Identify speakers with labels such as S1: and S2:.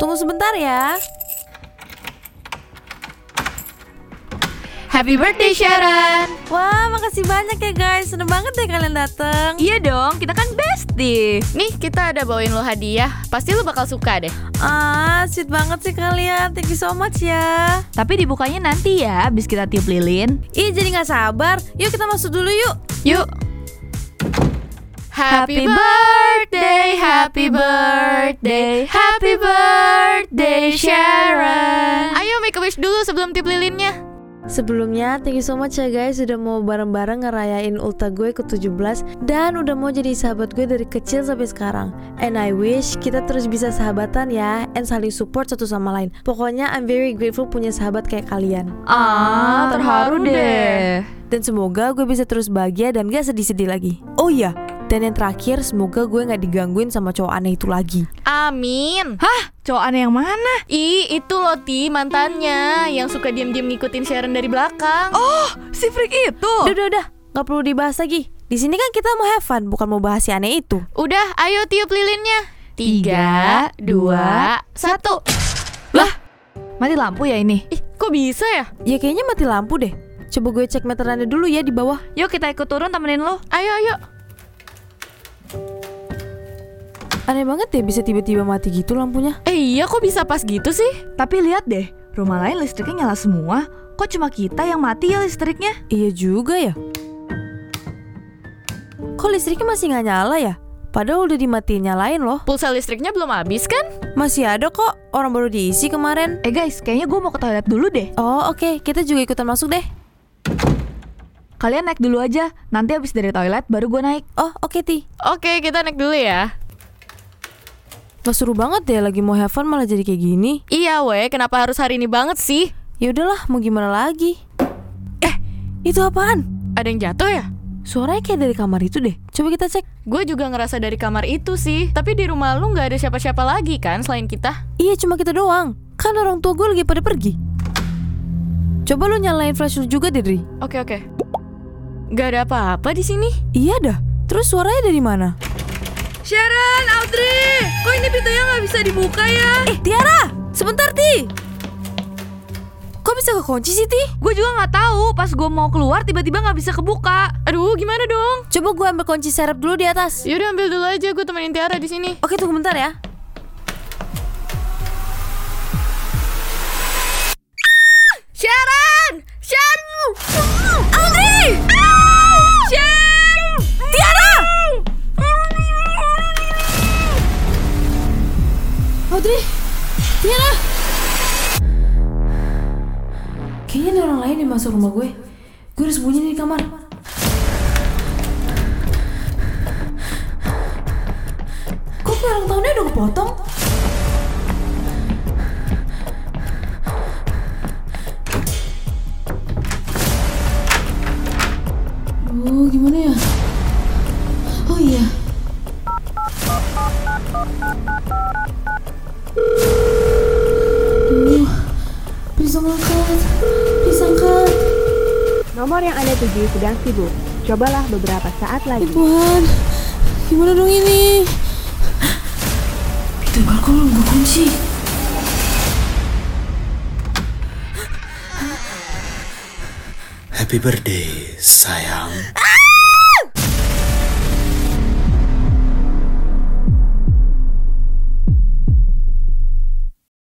S1: Tunggu sebentar ya.
S2: Happy birthday Sharon.
S1: Wah, makasih banyak ya guys. Seneng banget deh kalian dateng.
S2: Iya dong, kita kan bestie. Nih, kita ada bawain lo hadiah. Pasti lo bakal suka deh.
S1: Ah, sweet banget sih kalian. Thank you so much ya.
S2: Tapi dibukanya nanti ya, abis kita tiup lilin.
S1: Ih, jadi nggak sabar. Yuk kita masuk dulu yuk.
S2: Yuk. Happy birthday, happy birthday, happy birthday Sharon. Ayo make a wish dulu sebelum tiup lilinnya.
S1: Sebelumnya, thank you so much ya guys Sudah mau bareng-bareng ngerayain ulta gue ke-17 Dan udah mau jadi sahabat gue dari kecil sampai sekarang And I wish kita terus bisa sahabatan ya And saling support satu sama lain Pokoknya I'm very grateful punya sahabat kayak kalian
S2: Ah, terharu deh.
S1: Dan semoga gue bisa terus bahagia dan gak sedih-sedih lagi Oh iya, dan yang terakhir semoga gue gak digangguin sama cowok aneh itu lagi
S2: Amin.
S3: Cowok aneh yang mana?
S2: Ih, itu loh Ti, mantannya yang suka diam-diam ngikutin Sharon dari belakang. Oh,
S3: Si freak itu.
S1: Udah, udah, udah, gak perlu dibahas lagi di sini kan kita mau have fun, bukan mau bahas si aneh itu
S2: udah, ayo tiup lilinnya. Tiga, dua, satu.
S3: Mati lampu ya ini.
S2: Ih, kok bisa ya?
S1: Ya kayaknya mati lampu deh Coba gue cek meterannya dulu ya di bawah
S3: Yuk kita ikut turun temenin lo.
S2: Ayo, ayo.
S1: Aneh banget ya bisa tiba-tiba mati gitu lampunya
S2: Eh, iya kok bisa pas gitu sih?
S3: Tapi lihat deh, rumah lain listriknya nyala semua. Kok cuma kita yang mati ya listriknya?
S1: Iya juga ya Kok listriknya masih nggak nyala ya? Padahal udah dimatiin nyalain loh
S2: Pulsa listriknya belum habis kan?
S1: Masih ada kok, orang baru diisi kemarin
S3: Eh guys, kayaknya gue mau ke toilet dulu deh.
S1: Oh oke, kita juga ikutan masuk deh
S3: Kalian naik dulu aja. Nanti abis dari toilet baru gue naik.
S1: Oh oke Ti
S2: Oke, kita naik dulu ya.
S1: Gak seru banget deh lagi mau have fun malah jadi kayak gini
S2: Iya, weh, kenapa harus hari ini banget sih?
S1: Ya udahlah, mau gimana lagi Eh, itu apaan?
S2: Ada yang jatuh ya?
S1: Suaranya kayak dari kamar itu deh Coba kita cek
S2: Gue juga ngerasa dari kamar itu sih. Tapi di rumah lu nggak ada siapa-siapa lagi kan selain kita?
S1: Iya cuma kita doang Kan orang tua gue lagi pada pergi Coba lu nyalain flash lu juga Dedri
S2: Oke, oke. Gak ada apa-apa di sini.
S1: Iya dah Terus suaranya dari mana?
S3: Sharon, Audrey, kok ini pintunya nggak bisa dibuka ya?
S1: Eh Tiara Sebentar Ti Kok bisa kekunci sih Ti?
S3: Gue juga nggak tahu. Pas gue mau keluar tiba-tiba nggak bisa kebuka.
S2: Aduh, gimana dong?
S1: Coba gue ambil kunci serep dulu di atas
S2: Yaudah ambil dulu aja, gue temenin Tiara di sini.
S1: Oke tunggu bentar ya
S2: Sharon, Sharon,
S1: Audrey!
S2: Sharon,
S1: Tiara! Audrey! Tiara! Kayaknya ada orang lain yang masuk rumah gue Gue harus sembunyi di kamar Kok kue ulang tahunnya udah kepotong? Duh, gimana ya? Oh iya, please dong angkat Please angkat
S4: Nomor yang Anda tuju sedang sibuk. Cobalah beberapa saat lagi.
S1: Tuhan, gimana dong ini? Pintu balkon gue kunci.
S5: Happy birthday, sayang.